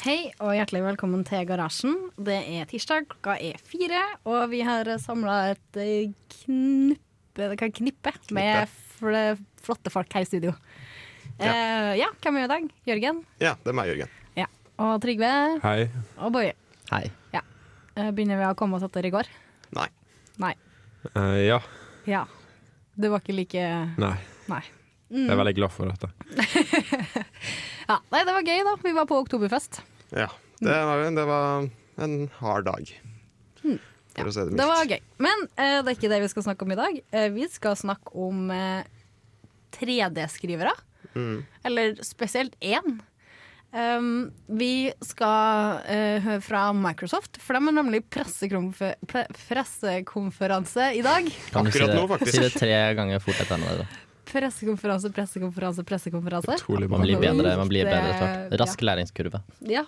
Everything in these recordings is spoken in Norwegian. Hei og hjertelig velkommen til Garasjen. Det er tirsdag, klokka er fire, og vi har samla et eh, knippe, det kan knippe, med fl flotte folk her i studio. Ja. ja, hvem er i dag? Jørgen? Ja, det er meg, Jørgen. Ja. Og Trygve? Hei. Og Boje. Hei. Ja. Eh, Begynner vi å komme oss etter i går? Nei. Nei. Eh, ja. Ja. Du var ikke like Nei. Nei. Jeg er veldig glad for dette. Ja, nei, det var gøy, da. Vi var på oktoberfest. Ja, det var, det var en hard dag. For å si det mildt. Det var gøy. Men eh, det er ikke det vi skal snakke om i dag. Eh, vi skal snakke om eh, 3D-skrivere. Mm. Eller spesielt én. Um, vi skal eh, høre fra Microsoft, for de har nemlig pressekonfer- pre- pressekonferanse i dag. Kan du si Akkurat det, nå, faktisk. si det tre ganger fort etter hverandre. da? Pressekonferanse, pressekonferanse, pressekonferanse. Utrolig bra. Man blir bedre, Mm. man blir bedre etter hvert. Det- Rask læringskurve. Ja.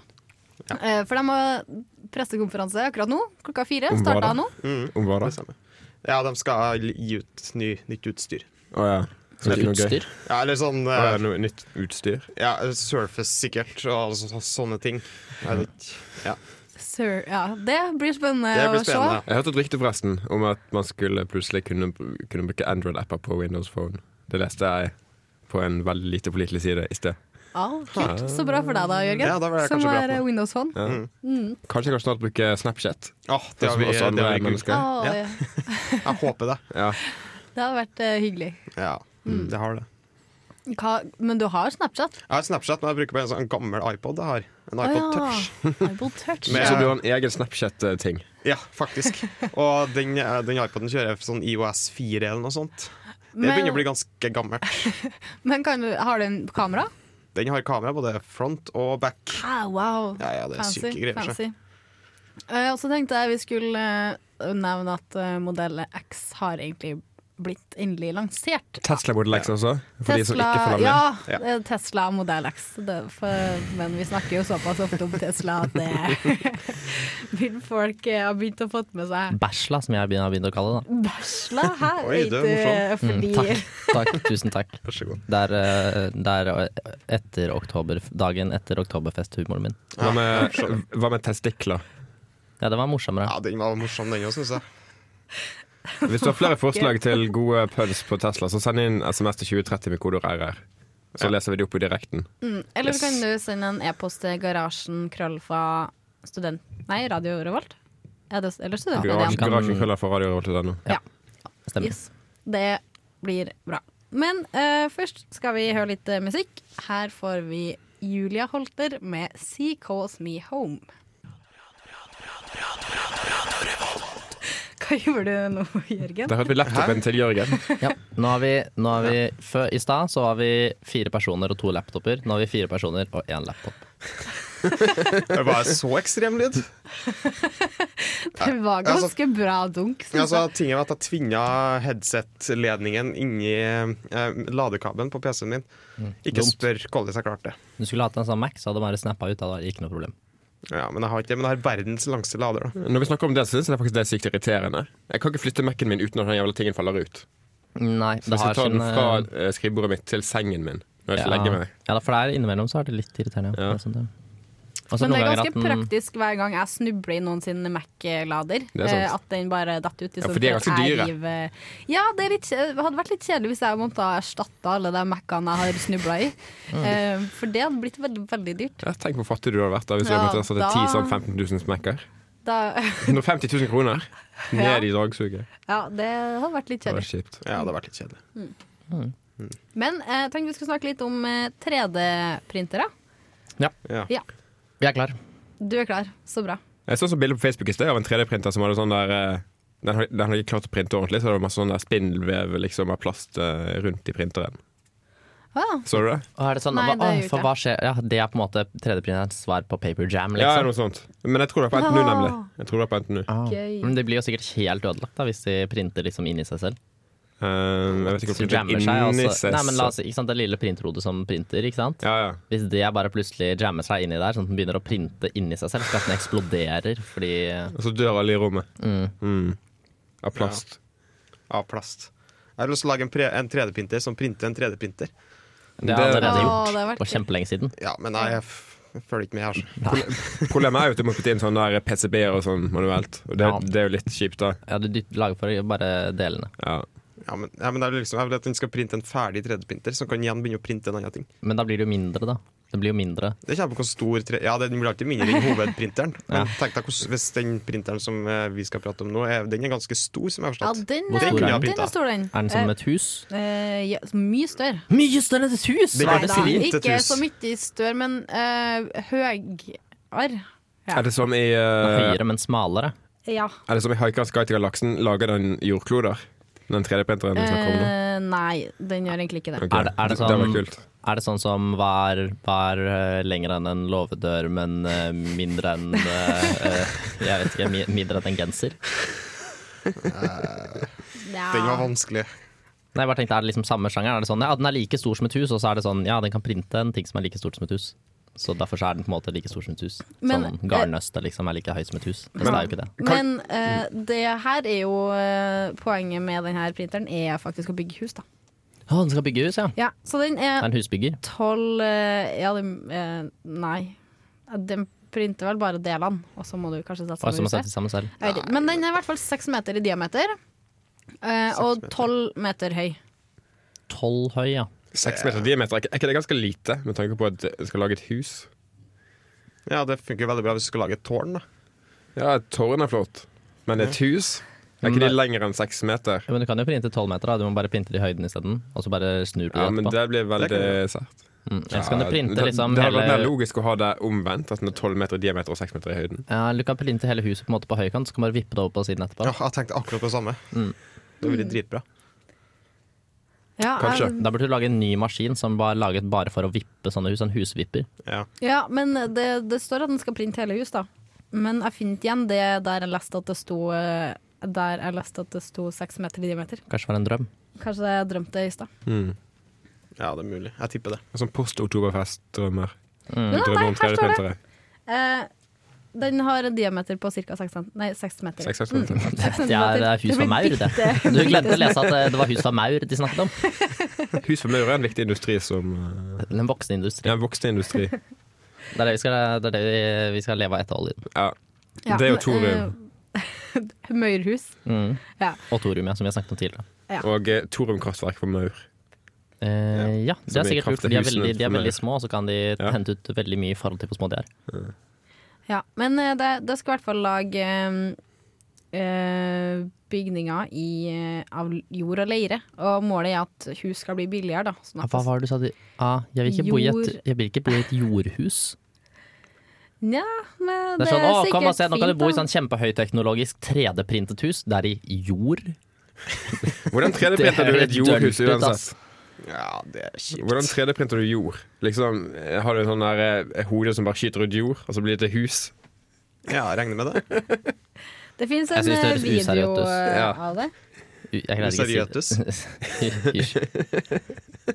Eh, for de har pressekonferanse akkurat nå, klokka fire. Om hva Starta da? nå. Om hva da? Det samme. Ja, de skal gi ut ny, nytt utstyr. Å ja. Så Er det ikke noe gøy? utstyr. Ja, eller sånn Å ja, eh, noe nytt utstyr? ja, Surface sikkert, og så, så, sånne ting. Jeg vet ikke. Ja, Sir, ja, det blir spennende det blir å se. spennende. Jeg hørte et rykte forresten om at man skulle plutselig kunne, kunne bruke Android-apper på Windows Phone. Det leste jeg på en veldig lite pålitelig side i sted. Ja, kult. Så bra for deg da, Jørgen. Ja, da var det som kanskje bra for er meg. Windows Phone. Ja. Mm. Kanskje jeg kan snart bruke Snapchat? Åh, det Som har vi, også det andre har vi kult. mennesker. Å, Ja. ja. Jeg håper det. Ja. Det hadde vært eh, hyggelig. Ja, det har det. Hva, men du har Snapchat? Jeg har Snapchat, men jeg bruker bare en sånn gammel iPod jeg har. En iPod Å, ja. Touch. iPod Touch. Men- Så du har en egen eh, Snapchat-ting. Ja, faktisk. Og den, eh, den iPoden kjører sånn IOS 4 eller noe sånt. Det Men- begynner å bli ganske gammelt. Men kan du, har du en kamera? Den har kamera både front og back. Ah, wow. Ja, ja, det er syke greier. Fancy. fancy. Eh, og så tenkte jeg vi skulle eh, nevne at eh, modell X har egentlig blitt endelig lansert. Tesla Model X også, for de som Tesla, ikke får være med. ja, Ja. det er Tesla og modell X. Det, er for, men vi snakker jo såpass ofte om Tesla at det vil folk eh, ha begynt å få med seg. Bæsla, som jeg begynner- har begynt å kalle det. da. Bæsla her, Oi, det er vet du, fordi Mm, takk, takk, tusen takk. Vær så god. Det er, eh, det er eh, etter oktober, dagen etter oktoberfest-humoren min. Hva med, hva med testikler? Ja, det var morsommere. Ja, den var morsom, den òg, syns jeg. Hvis du har flere forslag til gode puns på Tesla, så send inn SMS til 2030 med kodeord RR. Så leser vi det opp i direkten. Eller Yes. kan du sende en e-post til garasjen krøllfa student... Nei, Radio Revolt? Er det, eller Garasjen studentmediene. Kan- garasjen krøller for radio og alt det der nå. Ja. Stemmer. Yes. Det blir bra. Men eh, først skal vi høre litt eh, musikk. Her får vi Julia Holter med 'She Calls Me Home'. Hva gjorde du nå, Jørgen? Der hørte vi laptopen til Jørgen. Ja. Nå har vi, nå har vi før, I stad så var vi fire personer og to laptoper. Nå har vi fire personer og én laptop. Det var så ekstrem lyd. Det var altså- ganske bra dunk. synes Altså, tingen var at jeg tvinga headset-ledningen inni eh, ladekabelen på PC-en min. Ikke dumt. spør hvordan jeg klarte det. Du skulle hatt en sånn Mac, så hadde du bare snappa ut. Da var det ikke noe problem. Ja, men jeg har ikke det, men jeg har verdens langste lader, da. Når vi snakker om det, så synes jeg faktisk det er sykt irriterende. Jeg kan ikke flytte Mac-en min uten at den jævla tingen faller ut. Nei, Så det hvis har jeg tar den sine- fra eh, skrivebordet mitt til sengen min når jeg ja. skal legge meg Ja, da, for det er innimellom så er det litt irriterende. Ja. Ja. Sånn, ja. Og Men så det noen er ganger ganske at den- praktisk hver gang jeg snubler i noen sin Mac-lader. Det er sant. eh, At den bare datt ut. i sånn Ja, stedet for de er for ganske at jeg dyre. river- eh, Ja, det er litt, kje- hadde vært litt kjedelig hvis jeg måtte ha erstatta alle de Mac-ene jeg har snubla i. Eh, For det hadde blitt veldig, veldig dyrt. ja, Tenk hvor fattig du hadde vært da hvis du Ja, hadde måttet sette da- 10 sånn 15 000 Mac-er. Da, 150 000 kroner Ja. ned i dragsuget. ja, det hadde vært litt Det var kjedelig. kjipt. Ja, det har vært litt kjedelig. Men eh, jeg tenkte vi skulle snakke litt om eh, 3D-printere. Ja. Ja, Vi er klar. du er klar. Så bra. Jeg så et bilde på Facebook i sted av en 3D-printer som hadde sånn der eh, den har- den hadde ikke klart å printe ordentlig, så det var masse sånn der spindelvev liksom, av plast eh, rundt i printeren. Ah, Så du det? Og er det sånn, Nei, hva, det å, gjør for ikke hva skjer? Ja, det er på en måte 3D-printerens svar på Paper Jam, Ja, liksom. noe sånt. Men jeg tror det var på NTNU, nemlig. Jeg tror det var på NTNU. Ah. Gøy. Men det blir jo sikkert helt ødelagt da, hvis de printer liksom inni seg selv. Um, jeg vet ikke Så om det jammer er seg, inni altså. seg Nei, men la oss, ikke sant, Det lille printerhodet som printer, ikke sant. Ja, ja. Hvis det bare plutselig jammer seg inni der, sånn at den begynner å printe inni seg selv, så at den eksploderer fordi Og så dør alle i rommet. Mm. Av plast. Av plast. Jeg har lyst til å lage en, pre- en 3D-printer som printer en 3D-printer. Det har jeg Det- Åh, det allerede har gjort vært for kjempelenge siden. Ja, men jeg f- jeg følger ikke med her. så. Problemet er jo at du må putte inn sånne der PCB-er og sånn manuelt. Og det, Ja. det er jo litt kjipt, da. Ja, du dytter- lager for å- bare delene. Ja. Ja, men, ja, men det er liksom, jeg vil at den skal printe en ferdig 3D-printer, som kan igjen begynne å printe en annen ting. Men da blir det jo mindre, da. Det blir jo mindre. Det kommer på hvor stor tre... Ja, den blir alltid mindre enn hovedprinteren. Ja. Men tenk deg hvordan- hvis den printeren som eh, vi skal prate om nå, er, den er ganske stor, som jeg har Ja, forstått. den, Hvor er- stor er den? den er stor, den. Er den som et hus? Eh, eh, ja, mye større. Mye større enn et hus! Det er Hva er det det du sier? sier? ikke Intet hus. så mye større, men uh, høyere. Ja. Er det som i uh, Eh, Høyere, men smalere. Ja. Er det som i Haikas guide til galaksen? Lager den jordkloder? Den 3D-printeren du snakker om nå? Eh, nei, den gjør egentlig ikke det. Ok, Er det- er det det sånn- var kult. Er det sånn som hva er, hva er eh, lengre enn en låvedør, men eh, mindre enn eh, eh, Jeg vet ikke, mi- mindre enn en genser? Ja. Den var vanskelig. Nei, jeg bare tenkte, Er det liksom samme sjangeren? Er det sånn, ja, Den er like stor som et hus, og så er det sånn, ja, den kan printe en ting som er like stort som et hus. Så Derfor så er den på en måte like stor som et hus. Men, eh, sånn Garnnøstet liksom er like høy som et hus. Men, det er jo ikke det. Men eh, det her er jo eh, Poenget med denne printeren er faktisk å bygge hus, da. Å, den skal bygge hus, ja. Ja, så den Det er er en husbygger. tolv eh, Ja, den eh, Nei. Den printer vel bare delene, og så må du kanskje sette Og så må sammen sette huset. sammen selv. Jeg vet ikke. Men den er i hvert fall seks meter i diameter, eh, og tolv meter høy. Tolv høy, ja. Seks meter diameter, er ikke- er ikke det ganske lite med tanke på at du skal lage et hus? Ja, det funker veldig bra hvis du skal lage et tårn, da. Ja, et tårn er flott, men et hus? Er ikke det lenger enn seks meter? Men du kan jo printe tolv meter, da. Du må bare printe det i høyden isteden. Og så bare snur du det Ja, men etterpå. det blir Det kan veldig jeg sært. Mm. Ellers kan du printe Ja, liksom det hadde vært mer hele logisk å ha det omvendt, at den er tolv meter i diameter og seks meter i høyden. ja, Du kan printe hele huset på en måte på høykant, så kan du bare vippe det over på siden etterpå. Ja, jeg tenkte akkurat på det samme. Mm. Det blir dritbra. Ja, Kanskje. eh, Da burde du lage en ny maskin som var laget bare for å vippe sånne hus. En husvipper. Ja. Ja, men det, det står at den skal printe hele hus, da. Men jeg finner ikke igjen det der jeg leste at det sto eh, Der jeg leste at det sto seks meter i diameter. Kanskje det var en drøm. Kanskje jeg drømte det i stad. ja, det er mulig. Jeg tipper det. Sånn post-oktoberfest-drømmer. Mm. Ja, Drømmer nei, om her står det. 3D-printere. Eh, den har en diameter på ca. seks cent- Nei, seks meter. Seks centimeter. Seks Det centimeter. er, det er hus blir fra maur, det. bitte- Du glemte å lese at det- det var hus fra maur de snakket om. Hus for maur er en viktig industri som eh, Den voksne industri. Ja, en voksende industri. Det er det vi skal, det er det vi, vi skal leve av etter oljen. Ja. Ja, Det er jo men, thorium. eh, Maurhus. Mm. Ja. Og thorium, ja, som vi har snakket om tidligere. ja. Og eh, thoriumkraftverk for maur. Eh, ja, det Som er i sikkert lurt, for de er krafthusene veldig, de er for maur. veldig små, og så kan de Ja. hente ut veldig mye i forhold til hvor små de er. ja. Men eh, det, det skal i hvert fall lage eh, eh, bygninger i, eh, av jord og leire. Og målet er at hus skal bli billigere, da. Sånn Ja, at Hva var det du sa? du- Ah, jeg, vil ikke bo i et, jeg vil ikke bo i et jordhus. Nja, men Det er sånn, å, kom og se, Nå kan du bo i da. sånn kjempehøyteknologisk 3D-printet hus. Det er i jord. Hvordan 3D-printer du Det er et jordhus dølt ut, uansett? ass. Ja, det er kjipt. Hvordan 3D-printer du jord? Liksom, eh, Har du en sånn der eh, hode som bare skyter ut jord, og så blir det til hus? Ja, jeg regner med det. Det fins en Jeg synes det eh, høres video useriøst ut. eh, Ja. av det. U- Jeg klarer ikke å si det. Hysj.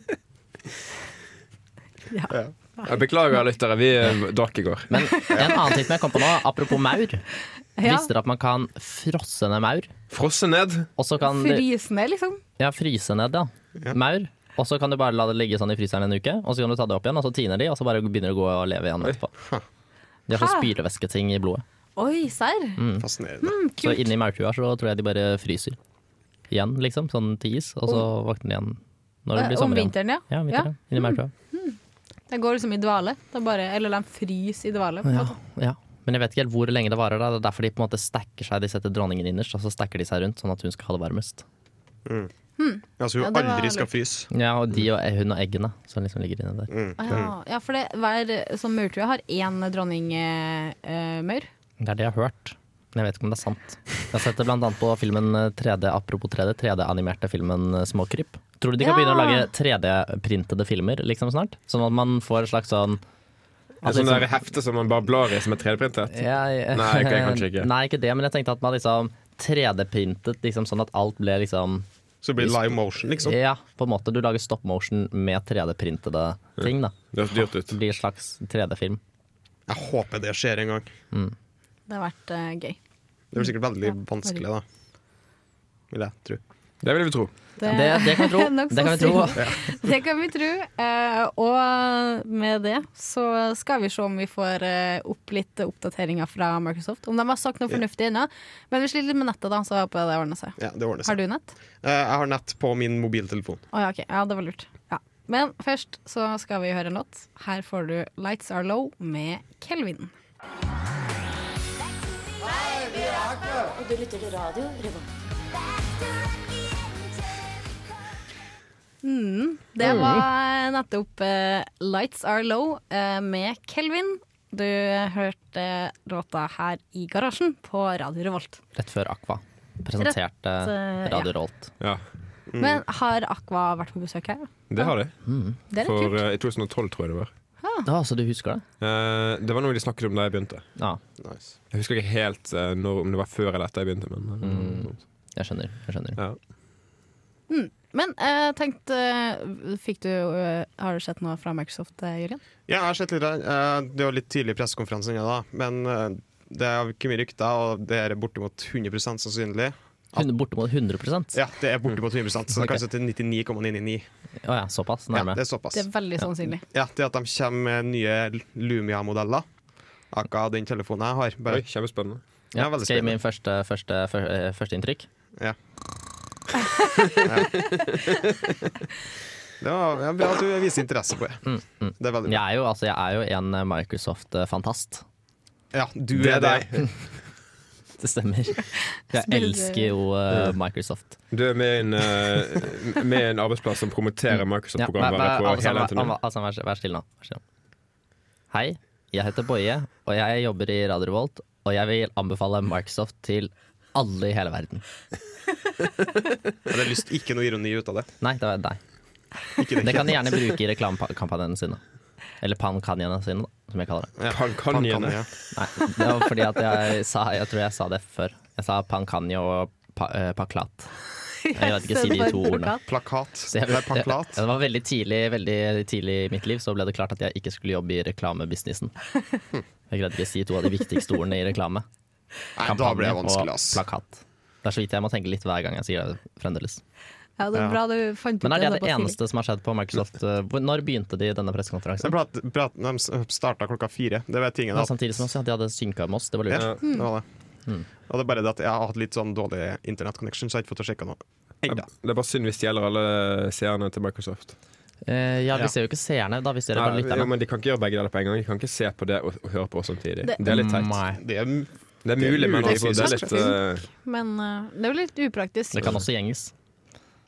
Jeg beklager, lyttere. Vi eh, drakk i går. Men en annen ting som jeg kom på nå, apropos maur. Ja. Visste dere at man kan frosse ned maur? Frosse ned. Og så kan de- Frysende, liksom. Ja, fryse ned, ja. Maur. Og så kan du bare la det ligge sånn i fryseren en uke, og så kan du ta det opp igjen, og så tiner de, og så bare begynner de å gå og leve igjen etterpå. De har sånn Hæ? spylevæsketing i blodet. Oi, serr. Mm. Fascinerende. Mm. Mm. Så inni maurtua så tror jeg de bare fryser. Igjen, liksom. Sånn til is, og så våkner de igjen når det Eh, blir Om sommer igjen. vinteren, ja. Ja, vinter, ja. Inni maurtua. Det går liksom i dvale. Det er bare, eller de fryser i dvale. på en Ja, måte. ja. Men jeg vet ikke helt hvor lenge det varer. Da. Det er derfor de på en måte stacker seg. De setter dronningen innerst, og så stacker de seg rundt, sånn at hun skal ha det varmest. Altså, Ja, hun det var aldri skal litt- fryse. Ja, og de og hun og eggene som liksom ligger inni der. Ah, Ja, ja, for det, hver sånn maurtue har én eh, dronningmaur. Det er det jeg har hørt. Men jeg vet ikke om det er sant. Jeg har sett det blant annet på filmen eh, 3D, apropos 3D, 3D-animerte filmen eh, Småkryp. Tror du de Ja. kan begynne å lage 3D-printede filmer liksom snart? Sånn at man får et slags sånn Et sånt der hefte som man bare blar i, som er 3D-printet. jeg, Nei, ok, kanskje ikke. Nei, ikke det, men jeg tenkte at man liksom 3D-printet liksom sånn at alt ble liksom Så det blir live motion, liksom. Ja, på en måte. Du lager stop motion med 3D-printede ting, da. Det høres dyrt ut. Det blir en slags 3D-film. Jeg håper det skjer en gang. Det har vært eh, gøy. Det blir sikkert veldig Ja, vanskelig, da. Vil jeg tro. Det vil vi tro. Det, det kan vi tro. Nok så Det kan vi tro. synd. Det kan vi tro. Eh, og med det så skal vi se om vi får eh, opp litt oppdateringer fra Microsoft. Om de har sagt noe fornuftig ennå. Men vi sliter litt med nettet, da, så håper jeg det ordner seg. Ja, det ordner seg. Har du nett? Eh, Jeg har nett på min mobiltelefon. Å ja, ok. Ja, det var lurt. Ja. Men først så skal vi høre en låt. Her får du 'Lights Are Low' med Kelvin. Du lytter til radio Revolt. Det Mm. var nettopp eh, 'Lights Are Low' eh, med Kelvin. Du hørte låta her i garasjen på Radio Revolt. Rett før Aqua presenterte eh, Radio Rolt. Ja, Men har Aqua vært på besøk her? det har de. Det er litt For kult. eh, i 2012, tror jeg det var. Ah. Da, så du husker det? Eh, det var noe de snakket om da jeg begynte. Ja, Nice. Jeg husker ikke helt eh, når, om det var før eller etter jeg begynte. Men, eh, jeg skjønner. Jeg skjønner. ja. Men eh, tenkt, eh, fikk du, eh, har du sett noe fra Microsoft, eh, Jørgen? Ja, jeg har sett litt der. Eh, Det var litt tidlig i pressekonferansen, ja, da. men eh, det er ikke mye rykter, og det er bortimot 100 sannsynlig. Hun- Bortimot 100 Ja, det er bortimot 100 så det Ok. kan sette 99,999. Å ja, såpass Ja, nærme. det er såpass. Det er veldig sannsynlig. Ja, det at de kommer med nye Lumia-modeller. Akkurat den telefonen jeg har. Bare, Oi, kjempespennende. ja, Ja, veldig skal jeg gi spennende. min første, første, før- eh, førsteinntrykk? ja. Det var ja, bra at du viser interesse på det. Det er veldig bra. Jeg er jo, altså, jeg er jo en eh, Microsoft-fantast. Ja, du er deg. Det stemmer. Jeg Spiller- elsker jo eh, Microsoft. Du er med i en, eh, med i en arbeidsplass som promoterer Ja, vær- Microsoft-programvare vær- på Alexander, hele NTNU. Alexander, Alexander, altså, vær, vær stille nå. Vær stille nå. Hei, jeg heter Boje, og jeg jobber i Radio Revolt, og jeg vil anbefale Microsoft til alle i hele verden. Jeg hadde lyst ikke noe ironi ut av det. Nei, det var deg. Ikke Det kan de gjerne bruke i reklamekampanjene sine. Eller pankanjene sine, da, som jeg kaller det. Ja, Pankanjene. Pankanje. Nei, det var fordi at jeg sa Jeg tror jeg sa det før. Jeg sa pankanje og pa, eh, paklat. Jeg vet ikke si de to ordene. Plakat. Så jeg, det er det, panklat. det var veldig tidlig, veldig tidlig i mitt liv så ble det klart at jeg ikke skulle jobbe i reklamebusinessen. Jeg greide ikke å si to av de viktigste ordene i reklame. Nei, da ble det Kampanje vanskelig, og ass. Plakat. Det er så vidt jeg må tenke litt hver gang jeg sier det fremdeles. Ja, det er Ja. bra du fant ut Men er det det såpass tidlig. eneste som har skjedd på Microsoft? eh, hvor- Når begynte de denne Så pressekonferansen? prat, prat, de starta klokka fire. Det var tingen. Ja, At, samtidig som Hmm. også at de hadde synka med oss. Det var ja, lurt. det var det. Og det er bare det at jeg har hatt litt sånn dårlig internettconnection, så jeg har ikke fått å sjekke noe. Enda. Det er bare synd hvis det gjelder alle seerne til Microsoft. Eh, Ja. Ja, vi ser jo ikke seerne, da. Vi ser jo bare Nei, jo, lytterne. men De kan ikke gjøre begge deler på en gang. De kan ikke se på det og, og høre på oss samtidig. Det- Det, er litt teit. Nei. Det er Det er Det er mulig, men mulig, altså, det er faktisk. litt eh, Men eh, det er jo litt upraktisk. Det kan også gjenges.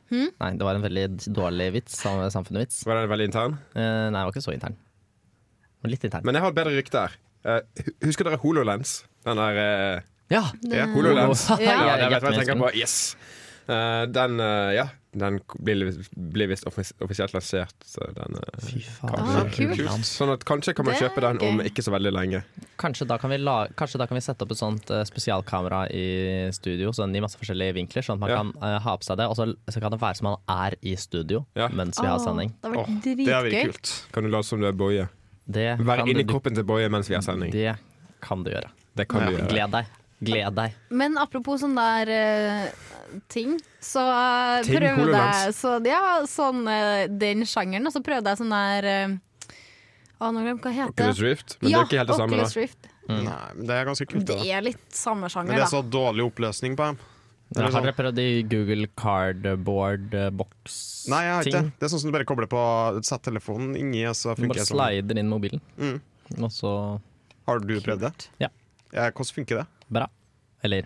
Nei, det var en veldig dårlig vits. sam- Samfunnsvits. Var den veldig intern? Eh, Nei, det var ikke så intern. Men litt intern. Men jeg har et bedre rykte her. Eh, hu- husker dere HoloLens? Den der eh, Ja! ja, Mm. HoloLens. Ja, Ja, ja, jeg vet hva jeg hjertemennesken. tenker på. Yes! Eh, den eh, ja, den k- blir, blir visst offis offisielt lansert. Så den, eh, Fy faen. Ah, kult. Sånn at kanskje kan man Det er kjøpe den om gøy. ikke så veldig lenge. Kanskje da, kan vi la, kanskje da kan vi sette opp et sånt eh, spesialkamera i studio, sånn i masse forskjellige vinkler, sånn at man Ja. kan eh, ha på seg det. Og så, så kan det være som man er i studio Ja. mens vi har sending. Åh, Det har vært Det er virkelig dritgøy. kult. Kan du late som du er Boje? Det Være kan inni du, kroppen til Boje mens vi har sending. det kan du gjøre. Det kan du gjøre. Gled deg. Gled deg. Men apropos sånne der eh, ting, så eh, Ting, prøvde jeg HoloLens. så, Ja, sånn eh, den sjangeren, og så prøvde jeg sånn der eh, Å, nå glemte jeg hva det Oculus heter. Rift? Men det er ikke helt det samme, Oculus da. Rift. Hmm. Nei, men det er ganske kult. Det Det, da. er litt samme sjanger, men det da. er så dårlig oppløsning på dem. Det er Har sånn- dere prøvd i Google cardboard eh, box Nei, jeg har ikke ting? det. Det er sånn som du bare kobler på Sett telefonen inni, og så Du bare funker det sånn. slider inn mobilen, Mm. og så Har du prøvd det? Ja. Ja, hvordan funker det? Bra. Eller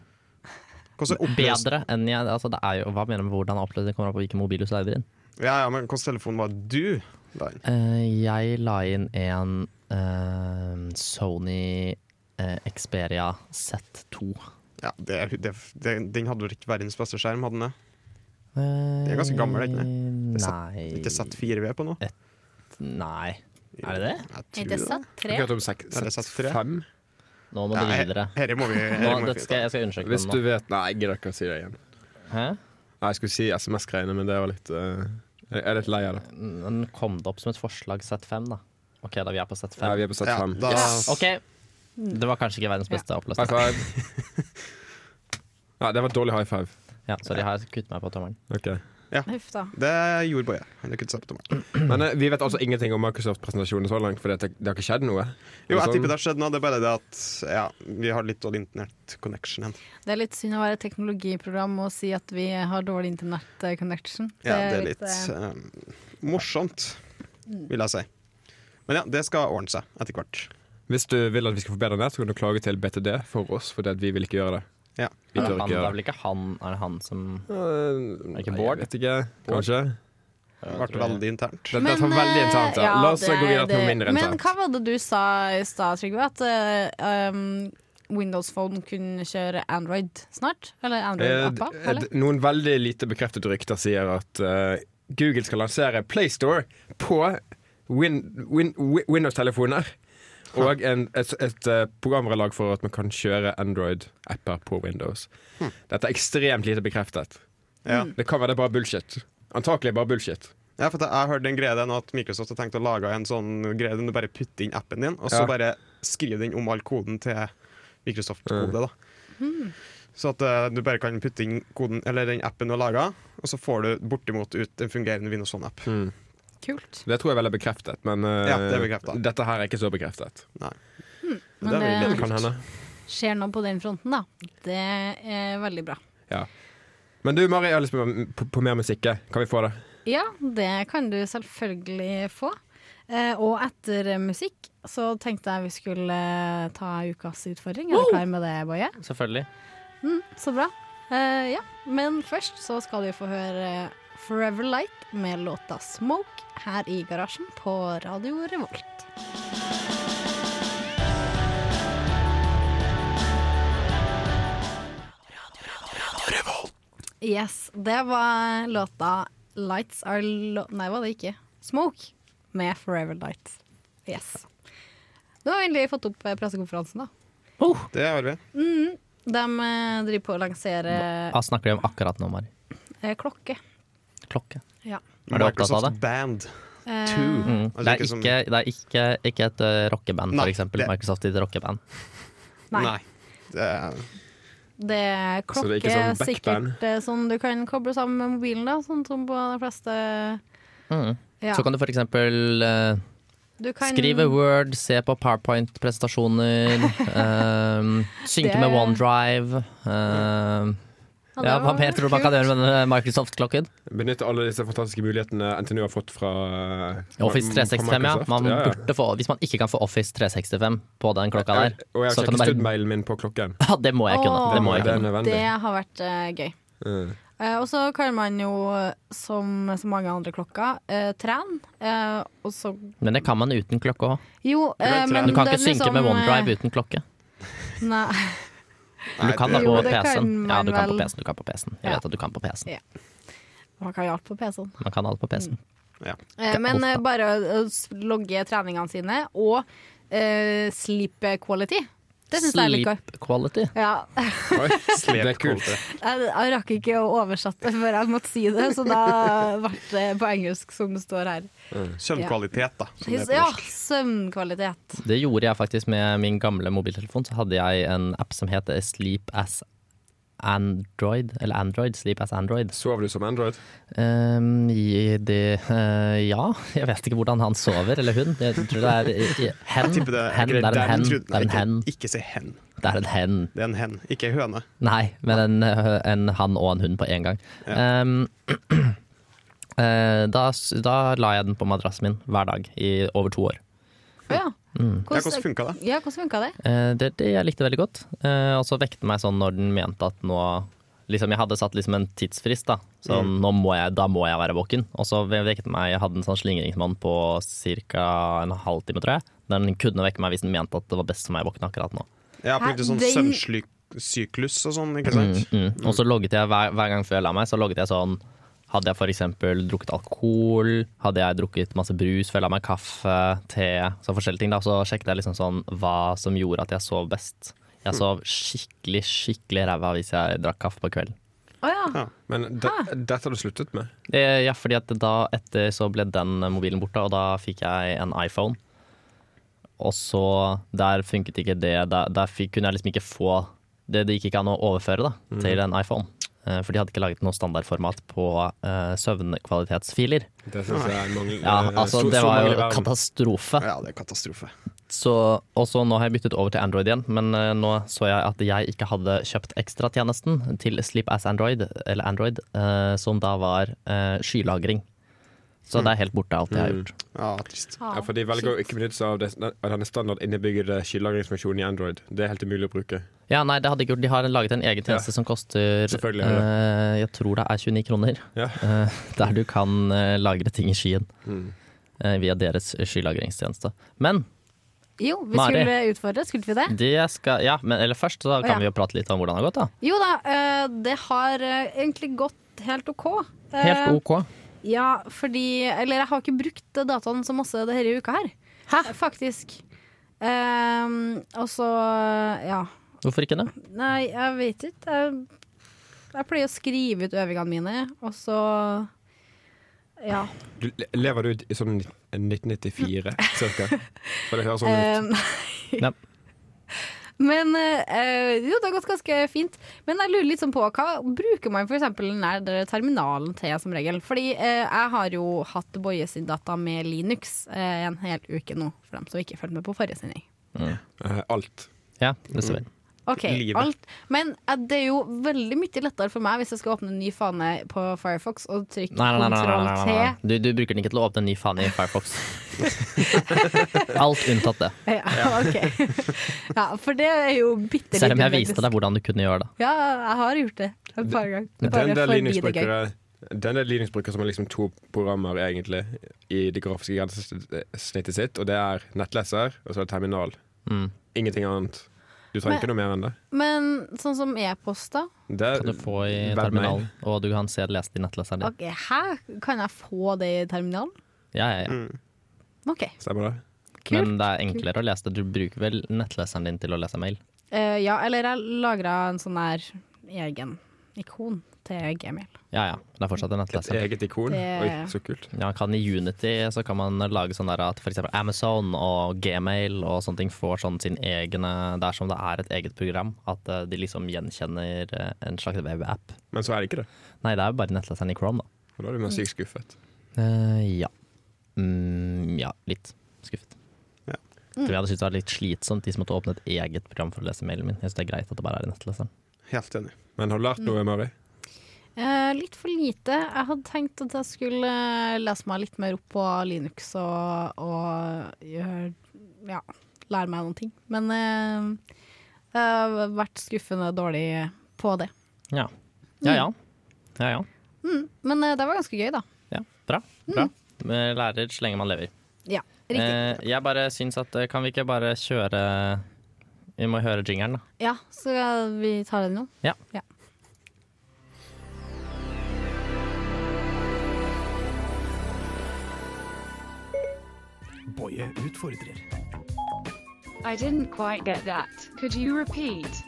Hvordan er oppløs- bedre enn jeg altså det er jo, Hva mener du med hvordan oppløsning kommer an på hvilken mobil du slider inn? Ja, ja, men hvordan telefon var du? Der. Eh, jeg la inn en eh, Sony eh, Xperia Z2. Ja, det, det, det, den hadde vel ikke verdens beste skjerm, hadde den det? Eh, Det er ganske gammel, er det ikke Det er Nei Ikke sett 4V på nå? Nei. Er det det? Jeg Er tror det det. sant? Tre? Akkurat om sek- Er det satt tre? fem? Nå må Ja, du her- videre. Her må vi, her Nå, må vi dette skal, jeg skal undersøke Hvis du den nå. vet Nei, jeg gidder ikke å si det igjen. Hæ? Nei, Jeg skulle si SMS-greiene, men det var litt eh, Jeg er litt lei av det. Den kom det opp som et forslag Z5, da. OK, da vi er på Z5. Nei, vi er på Ja, Z5. da, Yes. OK! Det var kanskje ikke verdens beste High oppløsning. five. Nei, det var et dårlig high five. Ja, sorry, har jeg kuttet meg på tommelen? Ok. Huff da. Det gjorde Boje. Han har kuttet seg på tommelen. Men eh, vi vet altså ingenting om Microsoft-presentasjonen så langt, for det, det har ikke skjedd noe. Jo, jeg Sånn- tipper det har skjedd noe. Det er bare det at ja, vi har litt dårlig internett-connection. igjen. Det er litt synd å være et teknologiprogram og si at vi har dårlig internett-connection. Ja, det er litt eh, mm. morsomt, vil jeg si. Men ja, det skal ordne seg etter hvert. Hvis du vil at vi skal forbedre det, så kan du klage til BTD for oss, for vi vil ikke gjøre det. Ja. Vi Han, tør det ikke er gjøre det. vel ikke han Er det han som Eh, ikke nei, Bård? Jeg vet ikke. Kanskje. Det ble veldig internt. Dette er for eh, veldig internt. Ja. La oss gå videre til noe mindre Men internt. hva var det du sa i stad, Trygve? At eh, um, Windows Phone kunne kjøre Android snart? Eller Eh, d- Android-appa? eh, d- eller? noen veldig lite bekreftede rykter sier at eh, Google skal lansere PlayStore på win, win, wi- Windows-telefoner. Og en, et, et eh, programvarelag for at man kan kjøre Android-apper på Windows. Hm. Dette er ekstremt lite bekreftet. Ja. Det kan være det er bare bullshit. Antakelig bare bullshit. Ja, for at jeg hørte en greie der nå at Microsoft har tenkt å lage en sånn greie der du bare putter inn appen din, og så Ja. bare skriver den om all koden til Mm. Microsoft-kode. da. Så at eh, du bare kan putte inn koden, eller den appen du har laga, og så får du bortimot ut en fungerende Windows Phone-app. Hm. Kult. Det tror jeg vel er bekreftet, men eh, Ja, det er bekreftet. dette her er ikke så bekreftet. Nei. Men eh, Det er veldig det kult. Kan hende. skjer noe på den fronten, da. Det er veldig bra. Ja. Men du, Mari, jeg har lyst på, på, på mer musikk. jeg. Kan vi få det? Ja, det kan du selvfølgelig få. Eh, og etter eh, musikk så tenkte jeg vi skulle eh, ta ukas utfordring. Er du klar med det, Boje? Selvfølgelig. Mm, Så bra. Eh, ja, men først så skal vi få høre Forever Light med låta Smoke her i garasjen på Radio Revolt. Yes, det var låta Lights Are Lo... Nei, var det ikke. Smoke med Forever Light. Yes. Du har vi egentlig fått opp eh, pressekonferansen, da. Det har vi. De eh, driver på å lansere Hva snakker de om akkurat nå, Mari? eh, klokke. Klokke. Ja. Er du opptatt av Microsoft det? Band 2. Eh, Mm. Altså, Det er ikke som- ikke, det er ikke, ikke et eh, rockeband, Nei, for eksempel. det- Microsoft sitt rockeband. Nei. Nei. Det er, Det er Så klokke, det er ikke sånn backband? sikkert eh, sånn du kan koble sammen med mobilen, da, sånn som på de fleste Mm. ja. Så kan du for eksempel eh, du kan- skrive Word, se på PowerPoint-presentasjoner, eh, synke Det- med OneDrive. eh, Ja, det ja, hva var mer tror du man kan kult. gjøre med denne Microsoft-klokken? Benytte alle disse fantastiske mulighetene NTNU har fått fra eh, Office fra 365, ja. Microsoft. Man burde få, hvis man ikke kan få Office 365 på den klokka Jeg- der, Og jeg har så sjekket kan du bare studmailen min på klokken. Ja, det må jeg kunne. Åh. Det må jeg det er kunne. nødvendig. Det har vært eh, gøy. Mm. Eh, og så kan man jo, som så mange andre klokker, eh, trene. eh, og så Men det kan man uten klokke òg. Jo, eh, kan trene. men Du kan ikke den synke liksom, med eh, OneDrive uten klokke. Nei. Men du kan da det- på Jo, det kan PC-en. Ja, man du kan på vel. PC-en. Du kan på PC-en. Jeg Ja. vet at du kan på PC-en. Ja. Man kan jo alt på PC-en. Man kan alt på PC-en. ja. Eh, men eh, bare å s- logge treningene sine, og eh, sleep quality. Det syns jeg er litt gøy. Sleep quality. Ja, Oi, det er kult. Jeg, jeg rakk ikke å oversette det før jeg måtte si det, så da ble det på engelsk som det står her. Mm. Søvnkvalitet, da. Som det heter på Ja, norsk. søvnkvalitet. Det gjorde jeg faktisk med min gamle mobiltelefon. Så hadde jeg en app som het Sleep as Android. Eller Android. Sleep as Android. Sov du som Android? Ehm, i det, eh, ja, jeg vet ikke hvordan han sover, eller hun. Jeg tror det er i- i- Jeg hen. tipper det hen. Det er en hen. trodde- Det er en Nei, hen. Ikke, ikke si hen. Det er en hen. Det er en hen, ikke en høne. Nei, men en, eh, en han og en hund på én gang. Ehm, eh, da, s- da la jeg den på madrassen min hver dag i over to år. Å Ja. Ja, hvordan funka det? Mm. Ja, hvordan funka det? Eh, det, det jeg likte veldig godt. Eh, og så vekte den meg sånn når den mente at nå liksom Jeg hadde satt liksom en tidsfrist, da. Så nå må jeg, da må jeg være våken. Og så vekket den meg Jeg hadde en sånn slingringsmann på ca. en halvtime, tror jeg. Den kunne vekke meg hvis den mente at det var best som jeg våkna akkurat nå. Ja, på Hæ, grunn av sånn den- søvnsyklus og sånn, ikke sant? Mm. Og så logget jeg hver, hver gang før jeg la meg, så logget jeg sånn Hadde jeg f.eks. drukket alkohol, hadde jeg drukket masse brus før jeg la meg, kaffe, te, så forskjellige ting, da, så sjekket jeg liksom sånn hva som gjorde at jeg sov best. Jeg sov skikkelig, skikkelig ræva hvis jeg drakk kaffe på kvelden. Å ja. Ja. Men de, dette har du sluttet med. Eh, Ja, fordi at da etter så ble den mobilen borte, og da fikk jeg en iPhone. Og så Der Mhm. funket ikke det. Der, der fikk, kunne jeg liksom ikke få Det, det gikk ikke an å overføre da, til en iPhone. Eh, For de hadde ikke laget noe standardformat på eh, søvnkvalitetsfiler. Det syns jeg er mangel. Ja, eh, altså så- Det så var mangel i jo verden. katastrofe. Ja, det er katastrofe. Så, og så nå har jeg byttet over til Android igjen, men eh, nå så jeg at jeg ikke hadde kjøpt ekstratjenesten til Sleep as Android, eller Android, eh, som da var eh, skylagring. Så Mm. det er helt borte, alt jeg har gjort. Ja, trist. Ja, for De velger å ikke benytte seg av, det, av denne standard innebyggede skylagringsfunksjonen i Android. Det er helt umulig å bruke. Ja, nei, det hadde ikke gjort. De har laget en egen tjeneste som koster Selvfølgelig har de eh, Jeg tror det er 29 kroner. Ja. eh, der du kan eh, lagre ting i skyen Mm. eh, via deres skylagringstjeneste. Men Jo, vi Mari. Mm. skulle utfordre, skulle vi det? det skal Ja, men eller først så ja. kan vi jo prate litt om hvordan det har gått, da. Jo da, eh, det har eh, egentlig gått helt OK. Eh, Helt OK. Ja, fordi Eller jeg har ikke brukt dataen så masse denne uka her. Hæ? Faktisk. Ehm, og så Ja. Hvorfor ikke det? Nei, jeg vet ikke. Jeg, jeg pleier å skrive ut øvingene mine, og så Ja. Du, lever du i sånn 1994 cirka? For det høres sånn ut. Ehm, Ja. Men eh, jo, det har gått ganske fint. Men jeg lurer litt sånn på hva bruker man f.eks. den der terminalen til som regel? Fordi eh, jeg har jo hatt Boje sin data med Linux eh, en hel uke nå, for dem som ikke fulgte med på forrige sending. Eh, alt. Ja, det ser vi. Ok, Livet. alt. Men eh, det er jo veldig mye lettere for meg hvis jeg skal åpne en ny fane på Firefox og trykke Nei, nei, nei, nei, nei, nei, nei. kontroll-T. Du, du bruker den ikke til å åpne en ny fane i Firefox. Alt unntatt det. Ja, ok. ja, for det er jo bitte Selv om jeg viste deg hvordan du kunne gjøre det. Ja, jeg har gjort det et par ganger. Det er en Bare del fordi det er gøy. Linux-brukere det er en del Linux-brukere som har liksom to programmer egentlig i det grafiske grensesnittet sitt, og det er nettleser og så er det terminal. Mm. Ingenting annet. Du trenger ikke noe mer enn det. Men sånn som e-post, da? det er, Kan du få i Webmail. terminalen, og du kan se det lest i nettleseren din. Ok, Hæ? Kan jeg få det i terminalen? Ja, ja, ja. OK, Stemmer det? mm, kult. Men det er enklere å lese det. Du bruker vel nettleseren din til å lese mail. Eh, ja, eller jeg lagra en sånn her egen ikon til Gmail. Ja ja, det er fortsatt en Et nettleser. eget ikon. Det- Oi, så kult. Ja, kan I Unity så kan man lage sånn der at f.eks. Amazon og Gmail og sånne ting får sånn sin egne Det er som det er et eget program, at eh, de liksom gjenkjenner eh, en slags webapp. Men så er det ikke det. Nei, det er jo bare nettleseren i Chrome, da. Og da er du mer sykt skuffet. Eh, ja. Mm, ja, litt skuffet. Ja. Tror Mm. jeg hadde syntes det var litt slitsomt, de som måtte åpne et eget program for å lese mailen min. Jeg synes det er greit at det bare er i liksom. nettleseren. Helt enig. Men har du lært Mm. noe, Mari? Eh, litt for lite. Jeg hadde tenkt at jeg skulle eh, lese meg litt mer opp på Linux og, og gjøre Ja, lære meg noen ting. Men eh, jeg har vært skuffende dårlig på det. Ja. Ja Mm. ja. Ja ja. Men eh, det var ganske gøy, da. ja. Bra. Bra. Med Lærer så lenge man lever. Ja, Mm. riktig. Eh, jeg bare syns at eh, Kan vi ikke bare kjøre Vi må høre jingeren, da. Ja, så eh, vi tar den nå. Ja. Ja. Boje utfordrer. I didn't quite get that. Could you repeat?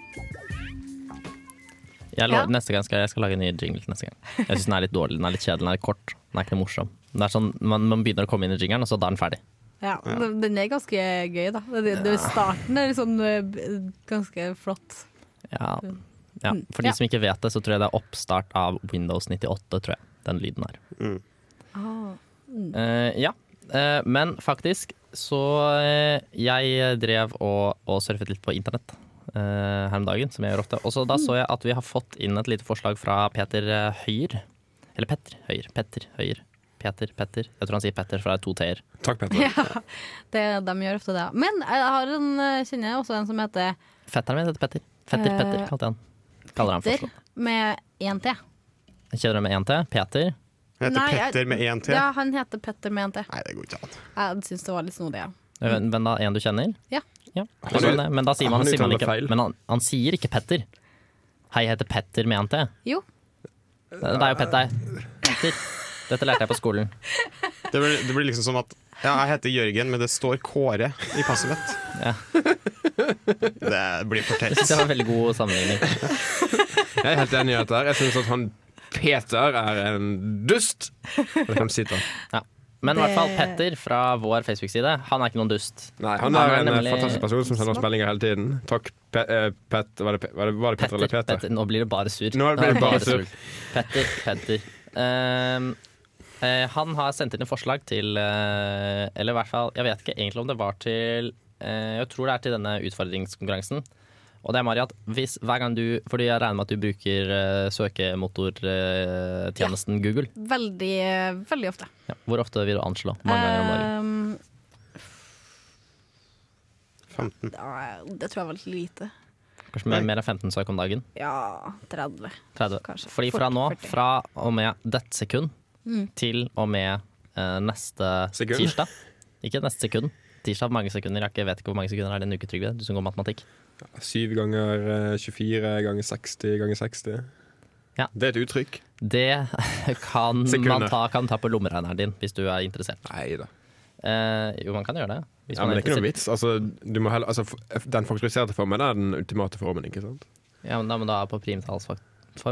Jeg lo Ja. Neste gang skal jeg skal lage en ny jingle. til neste gang Jeg syns den er litt dårlig, den er litt kjedelig, den er litt kort. Den er ikke noe morsom. Det er sånn, man, man begynner å komme inn i jingeren, og så da er den ferdig. Ja, den- Den er ganske gøy, da. Det, det, starten er liksom eh, b- ganske flott. Ja. ja. For Mm. de Ja. som ikke vet det, så tror jeg det er oppstart av Windows 98, tror jeg. Den lyden her. Ah. Mm. Eh, ja. Eh, men faktisk så eh, Jeg drev og, og surfet litt på internett eh, her om dagen, som jeg gjør ofte. Og så Mm. da så jeg at vi har fått inn et lite forslag fra Peter eh, Høyer. Eller Petter Høyer. Petter Høyer. Peter, Petter. Jeg tror han sier Petter, for det er to t-er. Takk, Petter. Det, de gjør ofte det. ja. Men jeg har en, eh, kjenner jeg også en som heter Fetteren min heter Petter. Fetter Eh, Petter, kalte jeg han. Kaller han for. Der, med én T. Kjenner du med én t? Peter. Jeg heter Nei, jeg- Petter med én T. Ja, han heter Petter med én T. Nei, det går ikke an. Jeg syns det var litt snodig, ja. Hvem hvem da? En du kjenner? Mm. Ja. det er sånn det, men da sier man, han sier man uttaler ikke feil. Men han, han sier ikke Petter. Hei, jeg heter Petter, mente jeg. Jo. Det det er jo Petter. Petter. Dette lærte jeg på skolen. Det blir, det blir liksom som at ja, jeg heter Jørgen, men det står Kåre i passet mitt. Ja. Det blir for Jeg teit. synes det var en veldig god sammenligning. Jeg er helt enig i dette. her Jeg syns at han Peter er en dust. Og det kan du si til han. Ja. Men Det- i hvert fall Petter fra vår Facebook-side, han er ikke noen dust. Nei, han Han er er en eh, nemlig fantastisk person som sender oss smart. meldinger hele tiden. Takk, Pe eh, Pet... Var det, Pe var det, var det Petter eller Peter? Petter. Nå blir det bare sur. Nå blir det bare sur. Petter, Petter. Ehm, eh, han har sendt inn et forslag til eh, Eller i hvert fall, jeg vet ikke egentlig om det var til eh, Jeg tror det er til denne utfordringskonkurransen. Og det er Mariat, hvis hver gang du Fordi jeg regner med at du bruker eh, søkemotortjenesten Google. Veldig, veldig ofte. Ja. Hvor ofte vil du anslå? Mange ganger om Eh, dagen? Ehm, 15. ja, det tror jeg var litt lite. Kanskje mer, mer enn 15 søk om dagen? Ja, 30. 30. Kanskje. Fordi fra Fort- Mm. nå, 40. fra og med dette sekund til og med eh, neste Sekund? tirsdag Ikke neste sekund. Tirsdag mange sekunder. Jeg ikke- vet ikke hvor mange sekunder er det en uke, Trygve. Du som går matematikk. 7 ganger eh, 24 ganger 60 ganger 60. Ja. Det er et uttrykk. Det kan Sekunder. man ta, kan du ta på lommeregneren din hvis du er interessert. Nei da. Eh, jo, man kan gjøre det. Hvis Ja, man men det er ikke noe interessert. vits. Altså, du må heller, altså, f- den faktoriserte formen er den ultimate formen, ikke sant? Ja, men da må du ha på primtallsform,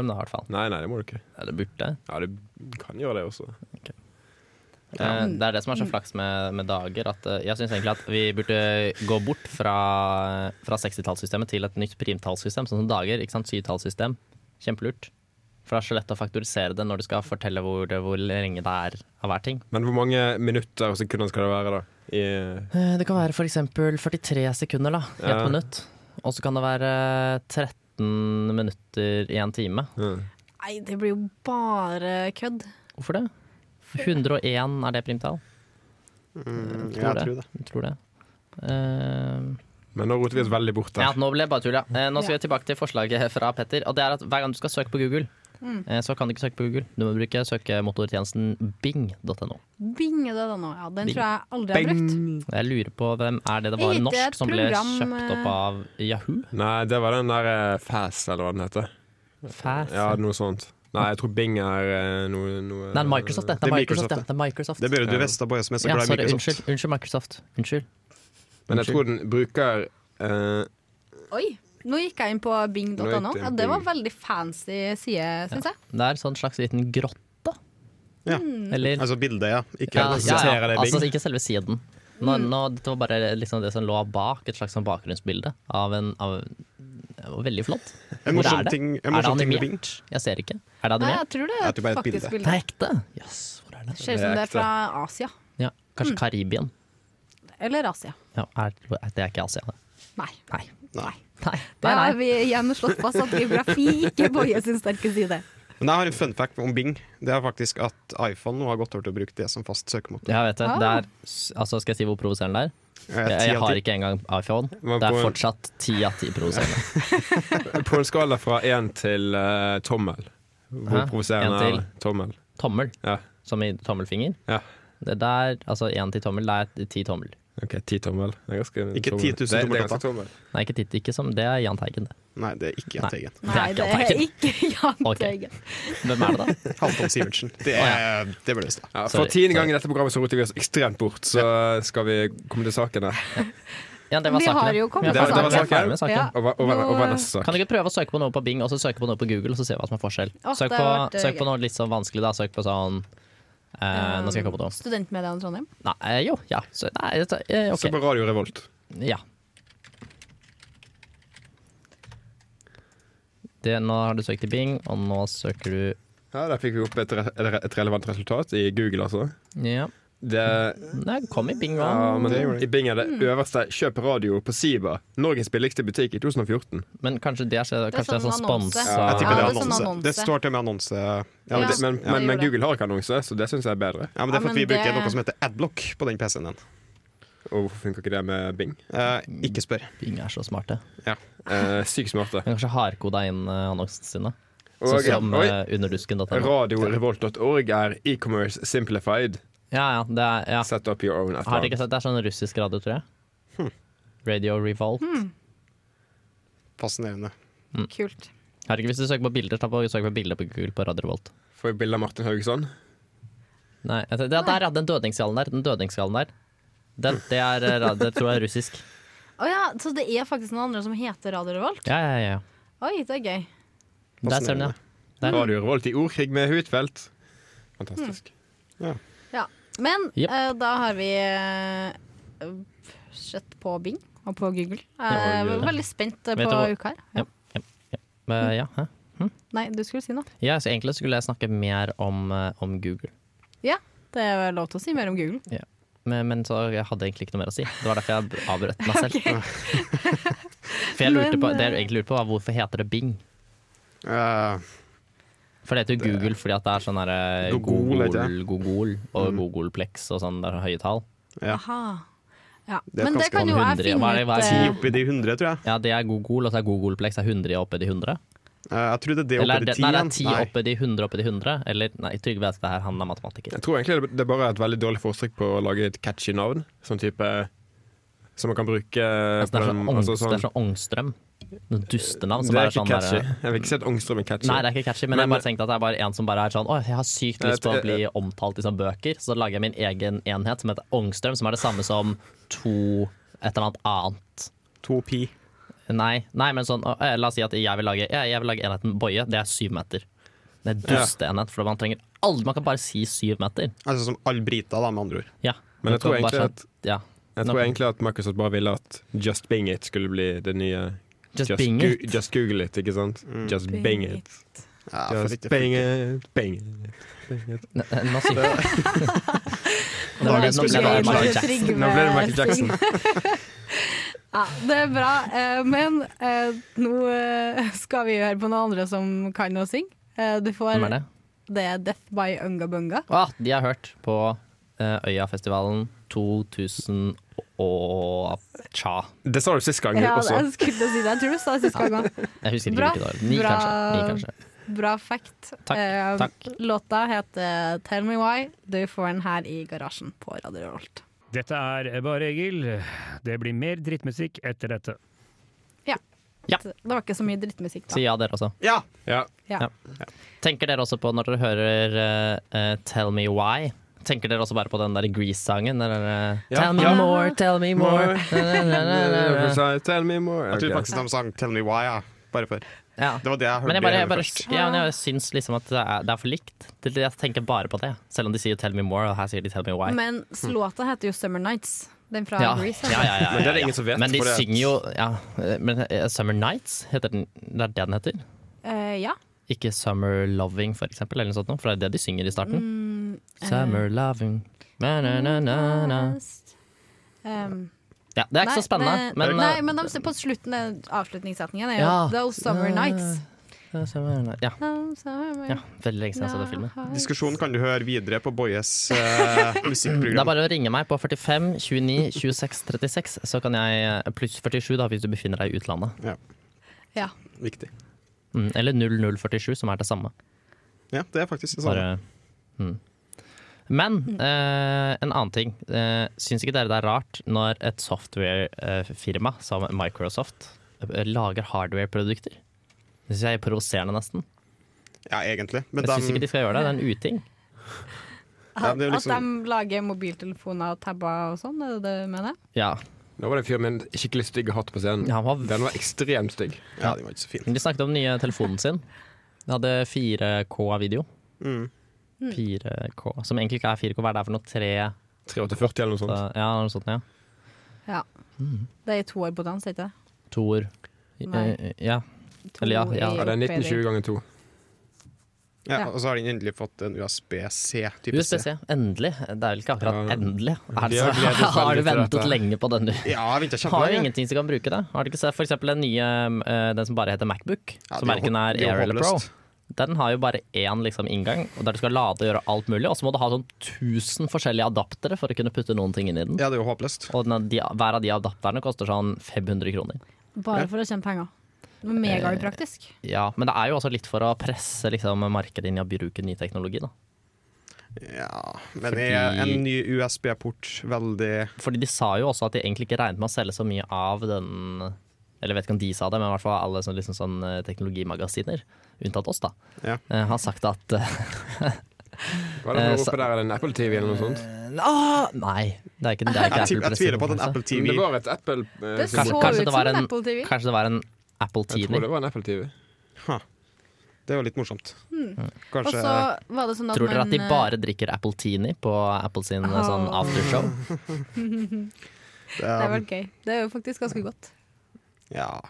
da, i hvert fall. Nei, nei, det må du ikke. Ja, det burde. Ja, du kan gjøre det også. Eh, Det er det som er så flaks med, med dager. At eh, jeg syns egentlig at vi burde gå bort fra, fra 60-tallssystemet til et nytt primtallssystem, sånn som dager. ikke sant? Syvtallssystem. Kjempelurt. For det er så lett å faktorisere det når du skal fortelle hvor, hvor lenge det er av hver ting. Men hvor mange minutter og sekunder skal det være, da? I, Eh, Det kan være f.eks. 43 sekunder da, i ett Ja. minutt. Og så kan det være 13 minutter i en time. ja. Nei, det blir jo bare kødd. Hvorfor det? 101 er det primtall? Mm, tror ja, jeg det. tror det. Jeg tror det. Eh, Men nå roter vi oss veldig bort Ja, der. nå ble det bare tull, ja. Eh, Nå skal Ja. vi tilbake til forslaget fra Petter. Og det er at Hver gang du skal søke på Google, Mm. eh, så kan du ikke søke på Google. Du må bruke søkemotortjenesten bing.no. Binge det da nå. Ja, den Bing. tror jeg aldri jeg har brukt. Jeg lurer på hvem er det det Jeg var hitte et norsk som ble program, kjøpt opp eh, av Yahoo? Nei, det var den der eh, Fast, eller hva den heter. Fast. Ja, noe sånt. Nei, jeg tror Bing er eh, noe, noe Nei, Microsoft, det. Det er Microsoft, det. Det er Microsoft. Det burde du visst, bare som er så ja, glad i sorry, Microsoft. unnskyld, unnskyld, Microsoft. Unnskyld. Men jeg tror den bruker eh, Oi, nå gikk jeg inn på bing.no. Nå gikk du inn Ja, på det var Bing. veldig fancy side, syns jeg. Det er en sånn slags liten grotte, Ja. Mm. eller Altså bildet, ja. Ikke Ja, ja, presenterer ja. det, Altså Bing. ikke selve siden. Nå, Mm. nå, det var bare liksom det som lå bak, et slags sånn bakgrunnsbilde av en av, det var Veldig flott. En Hvor morsom er det? ting- en er det morsom ting med animert? Jeg ser ikke. Er det Nei, animert? jeg tror det Jeg er tror et bare et faktisk bilde. bilde. Det er ekte! Yes, hvor er det? Ser ut som det er fra Asia. Ja, Mm. kanskje Karibien. Eller Asia. Ja, er, det er ikke Asia, det. Nei. Nei. Nei. Nei, Da nei, har vi igjen slått fast at geografi ikke er Boje sin sterke side. Men jeg har en fun fact om Bing. Det er faktisk at iPhone nå har gått over til å bruke det som fast søkemotor. Jeg vet det. Ah. det er, s- altså, skal jeg si hvor provoserende det er? Eh, Jeg, ti jeg av har ti. ikke engang iPhone. Men Det er på- fortsatt ti av ti provoserende. På en skala fra én til eh, tommel. Hvor Hæ? provoserende En til? er tommel? Tommel, Ja. som i tommelfinger. ja. Det der, altså én til tommel, det er ti tommel. OK, ti tommel. Det er ganske Ikke tommel. 10 000 Det- det er tommeltotter. ganske tommel. Nei, ikke titt, ikke som, det er Jahn Teigen. det. Nei, det er ikke Jahn Teigen. Nei, det er ikke Jahn Ok. Teigen. Hvem er det, da? Halvdan Sivertsen. Det, er- det ble det stå. Ja, for Sorry, tiende sorry. gang i dette programmet så roter vi oss ekstremt bort, så skal vi komme til sakene. Ja, det var Vi saken. har ja. jo kommet Vi er til ferdig- vi er saken. ferdig med saken. Ja. Og hva- og hva Nå- og hva er neste sak? Kan du ikke prøve å søke på noe på Bing, og så søke på noe på Google, og så se hva som er forskjell? Åh, søk, det på, har vært, eh, søk på gøy. noe litt sånn vanskelig, da. Søk på sånn eh, Nå skal jeg komme på noe. Studentmediene i Trondheim. Nei, eh, jo, ja. Så, nei, dette, eh, Se ok. på Radio Revolt. Ja. Det, nå har du søkt i Bing, og nå søker du Ja, Der fikk vi opp et, re re- et relevant resultat i Google, altså. Ja, Det, nei, kom i Bing ja, òg. men det gjorde I Bing er det Mm. øverste 'Kjøp radio' på Siba. Norges billigste butikk i 2014. Men kanskje det er, så- Det er kanskje det er sånn sånn annonse. sponsa Ja, jeg Ja, tipper det det er er sånn annonse. Det annonse. står til og med annonse. Ja, Ja, men Ja. det, men, det men, men gjorde det. Google har ikke annonse, så det syns jeg er bedre. ja, men det Ja, er for at vi men det- bruker noe som heter adblock på den PC-en din. Og hvorfor funker ikke det med Bing? Eh, ikke spør. Bing er så smarte. Ja. Eh, Sykt smarte. Men kanskje hardkoda inn eh, annonsene sine. Og- Sånn som oi. eh, underdusken.no. Radiorevolt.org er e-commerce simplified. Ja, ja, det er, ja. Set up your own. et Har eller dere ikke annet. sett Det er sånn russisk radio, tror jeg. Radio Revolt. Hm. Fascinerende. Mm. Kult. Har dere, hvis du søker på bilder, ta på, søk på bilder på Google på Radio Revolt. Får vi bilde av Martin Haugesson? Nei, jeg tenkte- ja, der, ja, den dødningsgallen der. Den dødningsgallen der. Den, det, er, eh, ra- det tror jeg er russisk. Å ja, så det er faktisk noen andre som heter Radio Revolt? Ja, ja, ja. Oi, det er gøy. Der ser den, ja. Der. Mm. Radio Revolt i ordkrig med Huitfeldt. Fantastisk. Ja. Men Jep. eh, da har vi eh, sett på Bing og på Google. Eh, Ja, vi vi- er veldig spent eh, Vet på du hva- uka her. Ja. Men, ja, hæ? Nei, du skulle si noe. ja, så egentlig skulle jeg snakke mer om, eh, om Google. Ja, det er lov til å si mer om Google. Men, men så jeg hadde egentlig ikke noe mer å si. Det var derfor jeg avbrøt meg selv. For jeg lurte Men, på, det jeg eh, egentlig lurte på, var hvorfor heter det Bing? Eh, For det heter jo Google fordi at det er sånn derre Google, Google, heter det. Google og Mm. Googleplex og sånn, det er høye tall. Ja. Aha. Ja. Det er Men det ganske kan jo mange jeg hundre. finne Hva er det- hva er ut det- eh, ti oppi de hundre, tror jeg. Ja, det er Google, og så er Googleplex er 100 oppe i de 100. Eh, jeg tror det er det Eller oppi er de det, ti nei, det igjen. er 10 Nei. oppe i de 100 oppe i de 100. Eller nei, Trygve vet det her, han er matematiker. Jeg tror egentlig det- det bare er et veldig dårlig forsøk på å lage et catchy navn. Sånn type Som man kan bruke Altså, det er på den- sånn, Ångst, altså sånn- det er sånn Ångstrøm. Noen dustenavn som det er bare ikke sånn catchy. der- Jeg vil ikke si at Ångstrøm er catchy. Nei, det er ikke catchy, men, Men- jeg bare tenkte at det er bare en som bare er sånn Å, jeg har sykt lyst på å Jeg- bli omtalt i sånne bøker. Så lager jeg min egen enhet som heter Ångstrøm, som er det samme som to et eller annet annet. To pi. Nei, nei men sånn å, eh, La oss si at jeg vil lage, jeg, jeg vil lage enheten Boje. Det er syv meter. Det er dusteenhet, for man trenger aldri Man kan bare si syv meter. Altså som alle briter, da, med andre ord. Ja. Men jeg Du kan tror bare egentlig sånn- at- ja. Jeg tror Nå- egentlig at Microsoft bare ville at Just Bing It skulle bli det nye Just, bing it. Goo- just Google It, ikke sant? Just Bing, Bing It. Ja, for Just ikke- Bing It, Bing It. N- n- Nå sier jeg Nå Dagens ble nå ble det spesial- Michael Trygve- Jackson. Nå ble det Michael Jackson. Ja, det er bra. eh, Men eh, nå eh, skal vi høre på noen andre som kan å synge. Eh, Du får Hvem er det? Det er Death by Unga Bunga. Ah, de har hørt på eh, Øyafestivalen 2000 og tja. Det sa du sist gang Ja, også. jeg skulle til å si det. Jeg tror du sa sist gang òg. Jeg husker Bra. ikke hvilket år. Ni, Bra. kanskje. Ni, kanskje. Bra fact. Takk, Eh, takk. Låta heter 'Tell Me Why'. Du får den her i garasjen på Radio Rolt. Dette er Bare Egil. Det blir mer drittmusikk etter dette. Ja. Det var ikke så mye drittmusikk, da. Si ja, dere også. Ja! Ja. Ja. Tenker dere også på, når dere hører eh, eh, 'Tell Me Why', tenker dere også bare på den der Grease-sangen? Eller eh, Ja. 'Tell me Ja. more, tell me more'. Tell me more. Jeg tror Ok. faktisk de sang 'Tell Me Why', ja. bare for. Ja. Det var det jeg hørte. Men jeg, bare, jeg, hørte bare, først. ja, men jeg syns liksom at det er, det er for likt. Det- Jeg tenker bare på det. Selv om de sier 'tell me more', og her sier de 'tell me why'. Men låta heter jo 'Summer Nights'. Den fra Mm. ja. Grease. Ja, altså. ja, ja, ja, Men det er det ja. ingen som vet, Men de fordi at- synger jo ja. Men eh, 'Summer Nights' heter den. Det er det den heter. Eh, ja. Ikke 'Summer Loving', for eksempel, eller noe sånt, noe, for det er det de synger i starten. Mm, Summer loving na, na, na, na, na. Um, Ja, Det er ikke så spennende, Nei, men eh, nei, men de ser på slutten av avslutningssetningen er jo Ja. 'Those Summer Ja. Nights'. eh, Summer Night- Ja. Those summer ja. Veldig lenge siden jeg så det filmen. nights. Diskusjonen kan du høre videre på Boyes eh, Det er musikkprogram. bare å ringe meg på 45 29 26 36, så kan jeg eh, Pluss 47 da, hvis du befinner deg i utlandet. Ja. Viktig. Mm, eller 0047, som er det samme. Ja, det er faktisk sånn. det samme. Bare, mm. Men eh, en annen ting. Uh, syns ikke dere det er rart når et software-firma som Microsoft eh, lager hardware-produkter? Det syns jeg er provoserende, nesten. Ja, egentlig. Men Jeg syns ikke de, de skal gjøre det. Det er en uting. ja, det er jo At liksom, de lager mobiltelefoner og tabber og sånn, er det det du mener? Ja. Nå var det en fyr med en skikkelig stygg hatt på scenen. Han var, Den var ekstremt stygg. ja, de var ikke så fine. de snakket om den nye telefonen sin. Den hadde 4K-video. Mm. 4K, Som egentlig ikke er 4K. Hva er det for noe? 3 3840 eller noe sånt. Ja, noe sånt, ja. Ja. Det er i to år på dans, ikke det? Toer. Nei. Eh, Ja. To Eller ja, ja. i Ja, det er oppi 1920 der. ganger 2. Ja, og så har de endelig fått en USB-C. type C. USBC, endelig. Det er vel ikke akkurat Ja. endelig. Er det Vi har så, gledet oss har du veldig til ventet dette. lenge på den? du? Ja, jeg venta Har jo kjempelenge. ingenting som kan bruke det. Har du ikke sett for eksempel den nye, eh, den som bare heter Macbook? Ja, som det er verken hå- er det er Air eller Pro. håpløst. Den har jo bare én liksom, inngang, og der du skal lade og gjøre alt mulig. Og så må du ha sånn 1000 forskjellige adaptere for å kunne putte noen ting inn i den. Ja, det er jo håpløst. Og den, de, hver av de adapterne koster sånn 500 kroner. Bare for å tjene penger. Det var Eh, Megaupraktisk. eh, Ja, Men det er jo også litt for å presse liksom, markedet inn i å bruke ny teknologi. Da. Ja, men Fordi- er en ny USB-port veldig Fordi de sa jo også at de egentlig ikke regnet med å selge så mye av den Eller jeg vet ikke om de sa det, men i hvert fall alle sånne, liksom, sånn, eh, teknologimagasiner, unntatt oss, da, Ja. eh, har sagt at eh, Hva er det Eh, for noe så- oppe der? Er det en Apple TV eller noe sånt? Åh, nei, det er ikke, det er ikke Eh, altså. Jeg, tvi- jeg tviler på at en Apple-pressekonferanse. Apple TV Men Det var et Apple eh, Det som- så kanskje det ut var som en en- Apple TV. Kanskje det var en Apple Jeg tror TV. det var en Apple TV. Ha. Det er jo litt morsomt. Mm. Og Kanskje så var det sånn at Tror dere man, at de eh, bare drikker Appletini på Apple sin eh, sånn Åh. aftershow? Det eh, er vel gøy. Det er jo faktisk ganske godt. Ja.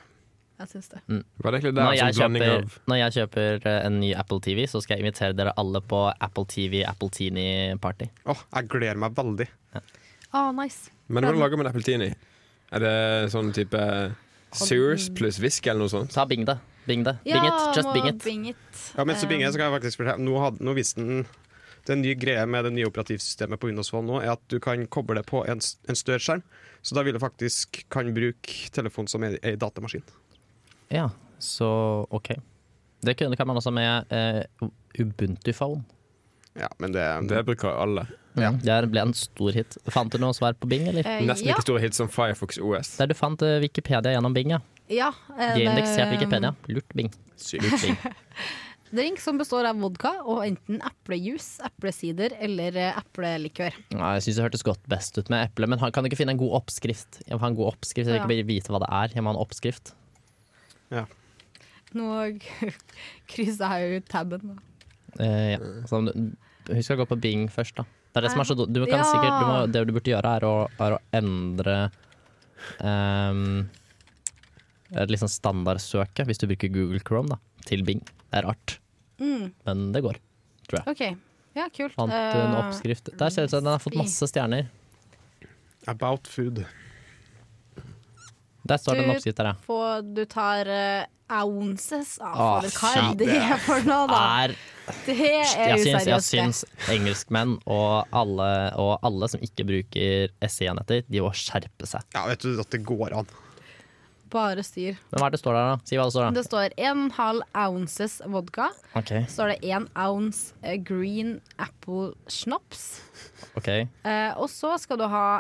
Jeg syns det. Var det egentlig der Når jeg, en sånn blanding kjøper, av når jeg kjøper eh, en ny Apple TV, så skal jeg invitere dere alle på Apple TV Appletini-party. Åh, jeg gleder meg veldig. Å, nice. Men hvordan lager man appeltini? Er det sånn type Sears pluss whisky eller noe sånt? Ta bing det. Bing det. Bing it. Just må bing it. Bing it. Ja, men så Binge, så kan jeg faktisk fortelle Nå, hadde, nå visste den Den nye greia med det nye operativsystemet på Windows Phone nå er at du kan koble det på en, s- en større skjerm, så da vil du faktisk kan bruke telefonen som ei ei datamaskin. Ja, så OK. Det kunne, kan man også med eh, Ubuntu Phone. Mm. Ja, men det, Det bruker alle. Ja. Det her ble en stor hit. Fant du noe svar på Bing, eller? Eh, Nesten ja. like store hit som Firefox OS. Der du fant eh, Wikipedia gjennom Bing, ja. ja. eh, mm. De det- indekserte Wikipedia. Lurt Bing. Lurt Bing. Drink som består av vodka og enten eplejus, eplesider eller eh, eplelikør. Ja, jeg syns det hørtes godt best ut med eple, men han- kan du ikke finne en god oppskrift? Jeg må ha en god oppskrift, Jeg vil ikke bare vite hva det er. Jeg må ha en oppskrift. Ja. Nå krysser jeg ut tabben. da. Eh, ja. så, om du- husk å gå på Bing først, da. Det er det som er så do- du kan Ja. sikkert, du må, Det du burde gjøre, er å, er å endre ehm, eh, liksom standardsøket, hvis du bruker Google Chrome, da, til Bing. Det er rart, Mm. men det går. OK. Ja, kult. Eh, Fant du en oppskrift? Der ser det ut som den har fått masse stjerner. About food. Der står det en Du- oppskrift der, ja. På, du tar eh, ounces Åh, av hva er Ah, shit. det for noe, da? Er Det er jeg syns, jeg useriøst. syns engelskmenn og alle, og alle som ikke bruker SE-enheter, de må skjerpe seg. Ja, vet du at det går an? det. Bare styr. Men hva er det står der, da? Si hva det står, da. Det står 1,5 ounces vodka. Ok, Så står det 1 ounce eh, green apple schnapps. ok. Eh, og så skal du ha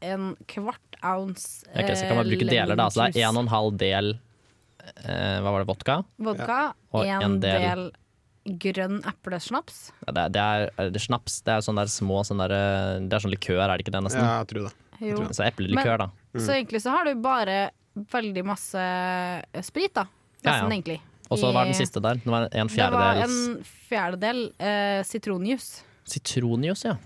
en kvart ounce eh, Ok, så kan man bruke deler, da. Så det er en og en halv del eh, Hva var det, vodka? vodka. Og en, en del- del, grønn eplesnaps. Ja, Det er, det er, er det snaps. Det er sånn der små sånn der, eh, Det er sånn likør, er det ikke det, nesten? Ja, jeg tror det. Jo. Så eplelikør, da. Så egentlig så har du bare veldig masse eh, sprit, da. Nesten, Ja, ja. egentlig. Og så I- var den siste der. Det var en Det var fjerdedels en fjerdedel eh, sitronjuice. sitronjuice, ja.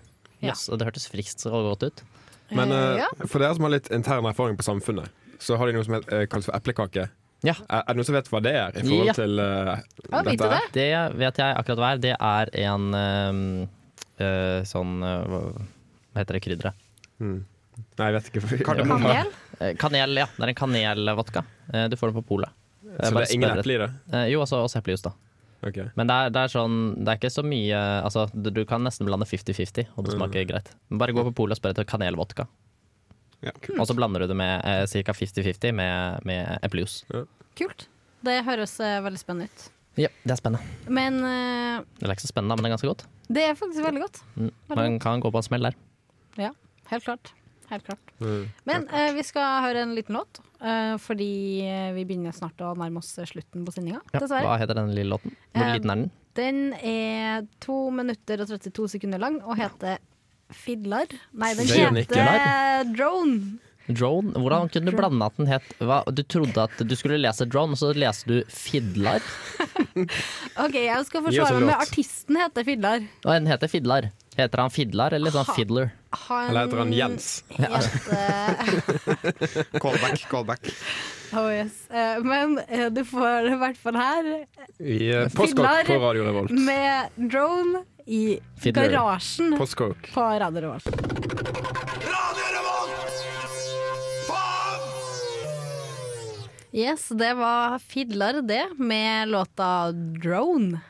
Ja. Yes, og det hørtes friskt og godt ut. Men Eh, eh, ja. for dere som har litt intern erfaring på samfunnet, så har de noe som het- eh, kalles for eplekake. Ja. Er, er det noen som vet hva det er? i forhold Ja. til eh, Ja, vet du dette? det? Det vet jeg akkurat hva er. Det er en øhm, øh, sånn øh, Hva heter det krydderet? Nei, jeg vet ikke. Kanel? Eh, Kanel, ja. Det er en kanelvodka. Eh, Du får den på polet. Eh, Så bare det er ingen spørre- eple i det? Eh, Jo, også, også eplejus, da. Ok. Men det er, det er sånn Det er ikke så mye Altså, du, du kan nesten blande 50-50, og det smaker greit. Men bare gå på polet og spør etter kanelvodka. Ja. Og så blander du det med eh, ca. 50-50 med, med eplejus. Kult. Det høres eh, veldig spennende ut. Ja, det er spennende. Men eh, Det er ikke så spennende, men det er ganske godt. det er faktisk veldig godt. Mm. Man kan gå på en smell der. Ja, helt klart. Helt klart. Mm. Men eh, vi skal høre en liten låt, eh, fordi eh, vi begynner snart å nærme oss eh, slutten på sendinga, Ja. dessverre. Hva heter den lille låten? Hvor Eh, liten er den? Den er 2 minutter og 32 sekunder lang og heter Fidlar. Nei, den Det gjør den ikke. heter Drone. Drone? Hvordan kunne du blande at den het hva? Du trodde at du skulle lese drone, og så leser du fidlar? OK, jeg skal Gi oss en forsvare meg med låt. artisten heter Fidlar. Og den heter fidlar. Heter han fidlar eller sånn Ha. fiddler? Han Eller heter han Jens? heter Callback, callback. oh yes. Eh, Men eh, du får i hvert fall her I eh, Postkokk på Fiddler. Radio Revolt. med drone i Fiddler. garasjen Postkokk. på Radio Revolt. Yes, det var Fidlar det, med låta Drone.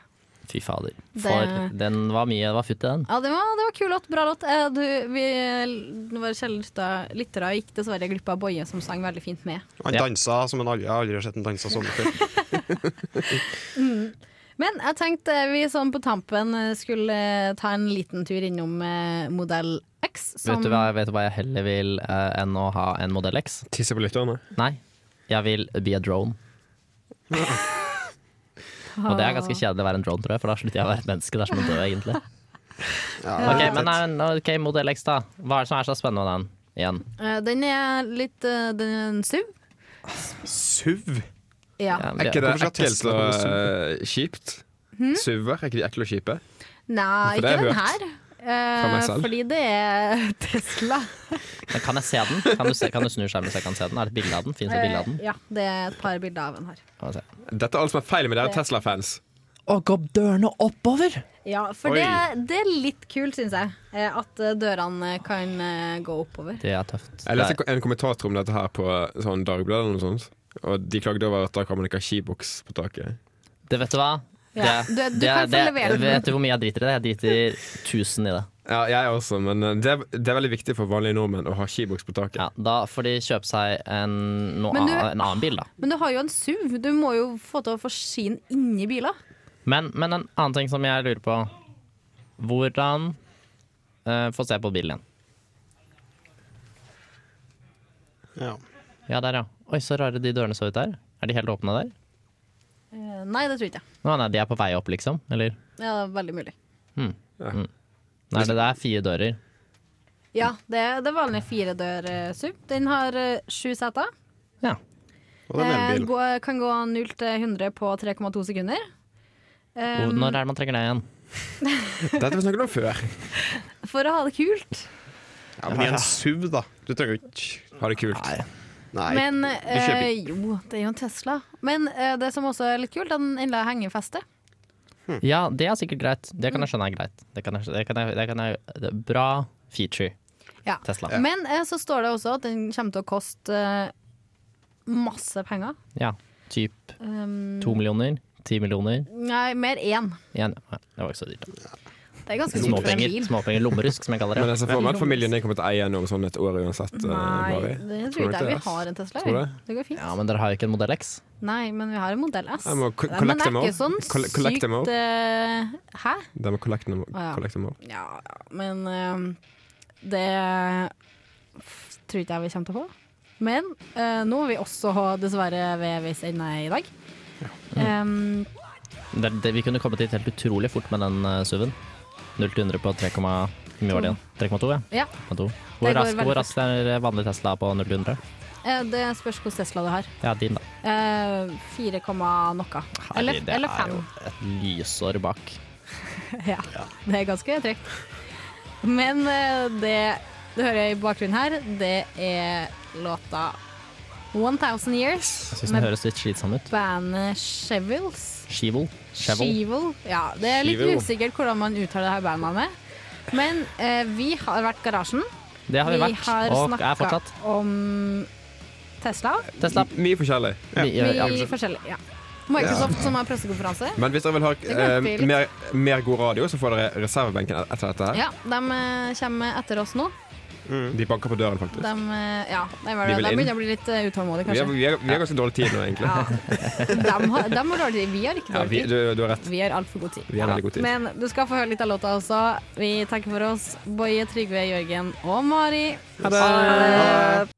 Fy fader. For Det- den var mye det var futt i den. Ja, det var, det var kul låt. Bra låt. Eh, Du, vi, våre kjære lyttere gikk dessverre glipp av Boje, som sang veldig fint med. Han Ja. dansa som en aldri, jeg har aldri sett en dansa sånn før. Men jeg tenkte vi sånn på tampen eh, skulle eh, ta en liten tur innom eh, Modell X. Som, Vet, du hva, vet du hva jeg heller vil eh, enn å ha en modell X? Tisse på lytterne. Nei, jeg vil be a drone. Og det er ganske kjedelig å være en drone, tror jeg, for da slutter jeg å være et menneske. Det er som å dø, egentlig. Ja, Ok, men nei, men, ok, modell X, da. Hva er det som er så spennende med den? Igjen. Eh, Den er litt eh, den er en SUV. SUV? Ja. Ja, Er det, ikke det Hvorfor skal ekkelt Tesla og gå eh, kjipt? Hmm? Suver? Er ikke de ekle og kjipe? Nei, For ikke det har jeg den hørt her. Eh, meg selv. fordi det er Tesla. Men kan jeg se den? Kan du, se, kan du snu skjermen så jeg kan se den? Er det et bilde av den? Fins det et bilde av den? Eh, ja, det er et par bilder av den her. Kan jeg se. Dette er alt som er feil med dere Tesla-fans. Å, gå opp dørene oppover! Ja, for Oi. det, det er litt kult, syns jeg. eh, At eh, dørene kan eh, gå oppover. Det er tøft. Jeg Det er- leste en kommentator om dette her på sånn Dagbladet eller noe sånt. Og de klagde over at da kan man ikke ha skiboks på taket. Det vet du hva? Ja, Det- du- du det- kan få det- levere den. Vet du hvor mye jeg driter i det? Jeg driter 1000 i det. Ja, jeg også, men eh, det er, det er veldig viktig for vanlige nordmenn å ha skiboks på taket. Ja, da får de kjøpe seg en, noe, Men du- ann- en annen bil, da. Men du har jo en SUV. Du må jo få til å få skien inni biler. Men, men en annen ting som jeg lurer på. Hvordan eh, Få se på bilen igjen. Ja. Ja, der, ja. Oi, så rare de dørene så ut der. Er de helt åpne der? Eh, Nei, det tror jeg ikke. Å, nei, de er på vei opp, liksom? Eller? Ja, det er veldig mulig. Nei, det der er fire dører. Ja, det, det er vanlig firedør-SUV. Den har eh, sju seter. Ja. Og Eh, den elbilen. gå- Kan gå 0 til 100 på 3,2 sekunder. Hvor- Um, Når er det man trekker det igjen? Dette har vi snakket om før. For å ha det kult. Ja, men i en SUV, da. Du trenger jo ikke Ha det kult. Nei. Men kjøper eh, jo, det er jo en Tesla. Men eh, det som også er litt kult, er den ennå henger feste. Hm. Ja, det er sikkert greit. Mm. Det kan jeg skjønne er greit. Det kan jeg, det kan jeg, det kan jeg, det er bra feature, Ja. Tesla. Men eh, så står det også at den kommer til å koste eh, masse penger. Ja, typ Um, to millioner, ti millioner. nei, mer én. Igjen, ja, det var ikke så dyrt. da. Det er ganske dyrt for en Småpenger, bil. småpenger lommerusk, som jeg kaller Men det. jeg ser for meg at familien din kommer til å eie en om sånn et år uansett. eh, Nei, Mari. det tror Tror du ikke ikke jeg vi det? har en Tesla. Tror du vi. det? Det går fint. Ja, men dere har jo ikke en modell X. Nei, men vi har en modell S. Jeg må co- Nei, collect men det them er all. ikke sånn Coll- collect them all. sykt eh, Hæ? Det med collect them, ja. collect them all. Ja, ja, men eh, det f- tror ikke jeg vi kommer til å få. Men eh, nå må vi også ha dessverre ved veis ende i dag. Ehm, Em, Det, det, vi kunne kommet dit helt utrolig fort med den uh, SUV-en. 0 til 100 på 3, hvor mye var det igjen? 3,2, ja, ja. 3,2. går Hvor rask, veldig hvor rask er eh, vanlig Tesla på 0 til 100? eh, det spørs hvilken Tesla du har. Ja, din, da. Eh, 4, komma noe. Eller, Herregud, eller Det 5. er jo et lysår bak. Ja, det er ganske tregt. Men eh, det du hører i bakgrunnen her, det er låta 1000 Years Jeg syns den med høres litt slitsom ut. bandet Shevils. Skivol. Skjevol. Shivel. Ja, det er litt Shivel. usikkert hvordan man uttaler det her bandnavnet. Men eh, vi har vært Garasjen. Det har vi vært, har og er snakka fortsatt. om Tesla. Tesla. Mye forskjellig. Vi, Vi ja, forskjellig, ja. Microsoft som har pressekonferanse. Men hvis dere vil ha kan eh, jeg spille. mer, mer god radio, så får dere reservebenken etter dette. her Ja, de eh, kommer etter oss nå. De banker på døren, faktisk. De, eh, ja, de, De de, vil inn. begynner å bli litt eh, utålmodige, Vi har, kanskje. vi, har, vi har ganske dårlig tid nå, egentlig. Ja. De har, de har dårlig tid. Vi har ikke Ja, vi, dårlig du, tid. du har rett. Vi har altfor god tid. Vi har veldig god tid. Men du skal få høre litt av låta også. Vi takker for oss. Boje, Trygve, Jørgen og Mari. Ha det.